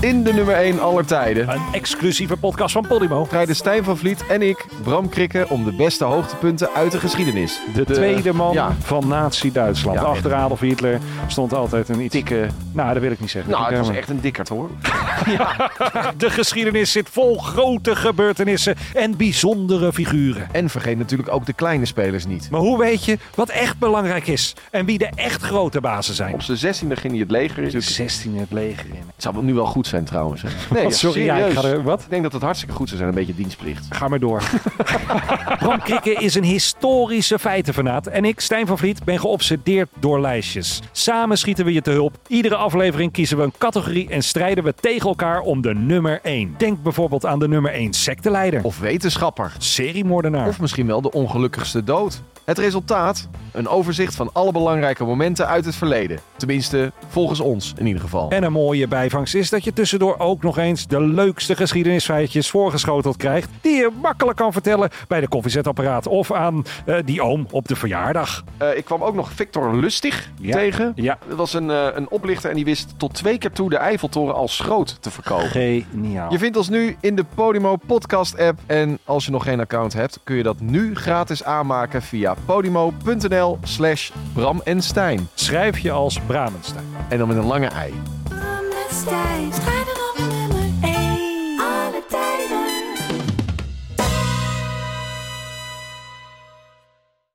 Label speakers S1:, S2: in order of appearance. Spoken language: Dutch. S1: in de nummer 1 aller tijden.
S2: Een exclusieve podcast van Podimo.
S1: Strijden Stijn van Vliet en ik, Bram Krikke, om de beste hoogtepunten uit de geschiedenis.
S2: De tweede man
S1: ja. Nou,
S2: van Nazi-Duitsland.
S1: Ja,
S2: Achter Adolf Hitler stond altijd een iets... dikke... Nou, dat wil ik niet zeggen.
S1: Nou,
S2: Ik,
S1: het was
S2: eh,
S1: echt een dikkerd hoor.
S2: De geschiedenis zit vol grote gebeurtenissen en bijzondere figuren.
S1: En vergeet natuurlijk ook de kleine spelers niet.
S2: Maar hoe weet je wat echt belangrijk is en wie de echt grote bazen zijn?
S1: Op zijn zestiende ging hij het leger in. Het
S2: 16 het leger in.
S1: zou wel nu wel goed zijn trouwens. hè. Nee, ja,
S2: Oh, sorry, ja, ik
S1: serieus.
S2: ga er- wat?
S1: Ik denk dat het hartstikke goed zou zijn, een beetje dienstplicht.
S2: Ga maar door. Bram Krikke is een historische feitenfanaat. En ik, Stijn van Vliet, ben geobsedeerd door lijstjes. Samen schieten we je te hulp. Iedere aflevering kiezen we een categorie en strijden we tegen elkaar om de nummer 1. Denk bijvoorbeeld aan de nummer 1 secteleider. Of
S1: Of wetenschapper.
S2: seriemoordenaar.
S1: Of misschien wel de ongelukkigste dood. Het resultaat? Een overzicht van alle belangrijke momenten uit het verleden. Tenminste, volgens ons in ieder geval.
S2: En een mooie bijvangst is dat je tussendoor ook nog eens de leukste geschiedenisfeitjes voorgeschoteld krijgt. Die je makkelijk kan vertellen bij de koffiezetapparaat of aan eh, die oom op de verjaardag.
S1: Eh, ik kwam ook nog Victor Lustig
S2: Ja.
S1: tegen.
S2: Ja.
S1: Dat was een, eh, een oplichter en die wist tot twee keer toe de Eiffeltoren als schroot te verkopen.
S2: Geniaal.
S1: Je vindt ons nu in de Podimo podcast app. En als je nog geen account hebt, kun je dat nu gratis aanmaken via podimo.nl slash Bram en Stijn.
S2: Schrijf je als Bramenstein.
S1: En dan met een lange ei.
S3: Bram en Stijn. Stijn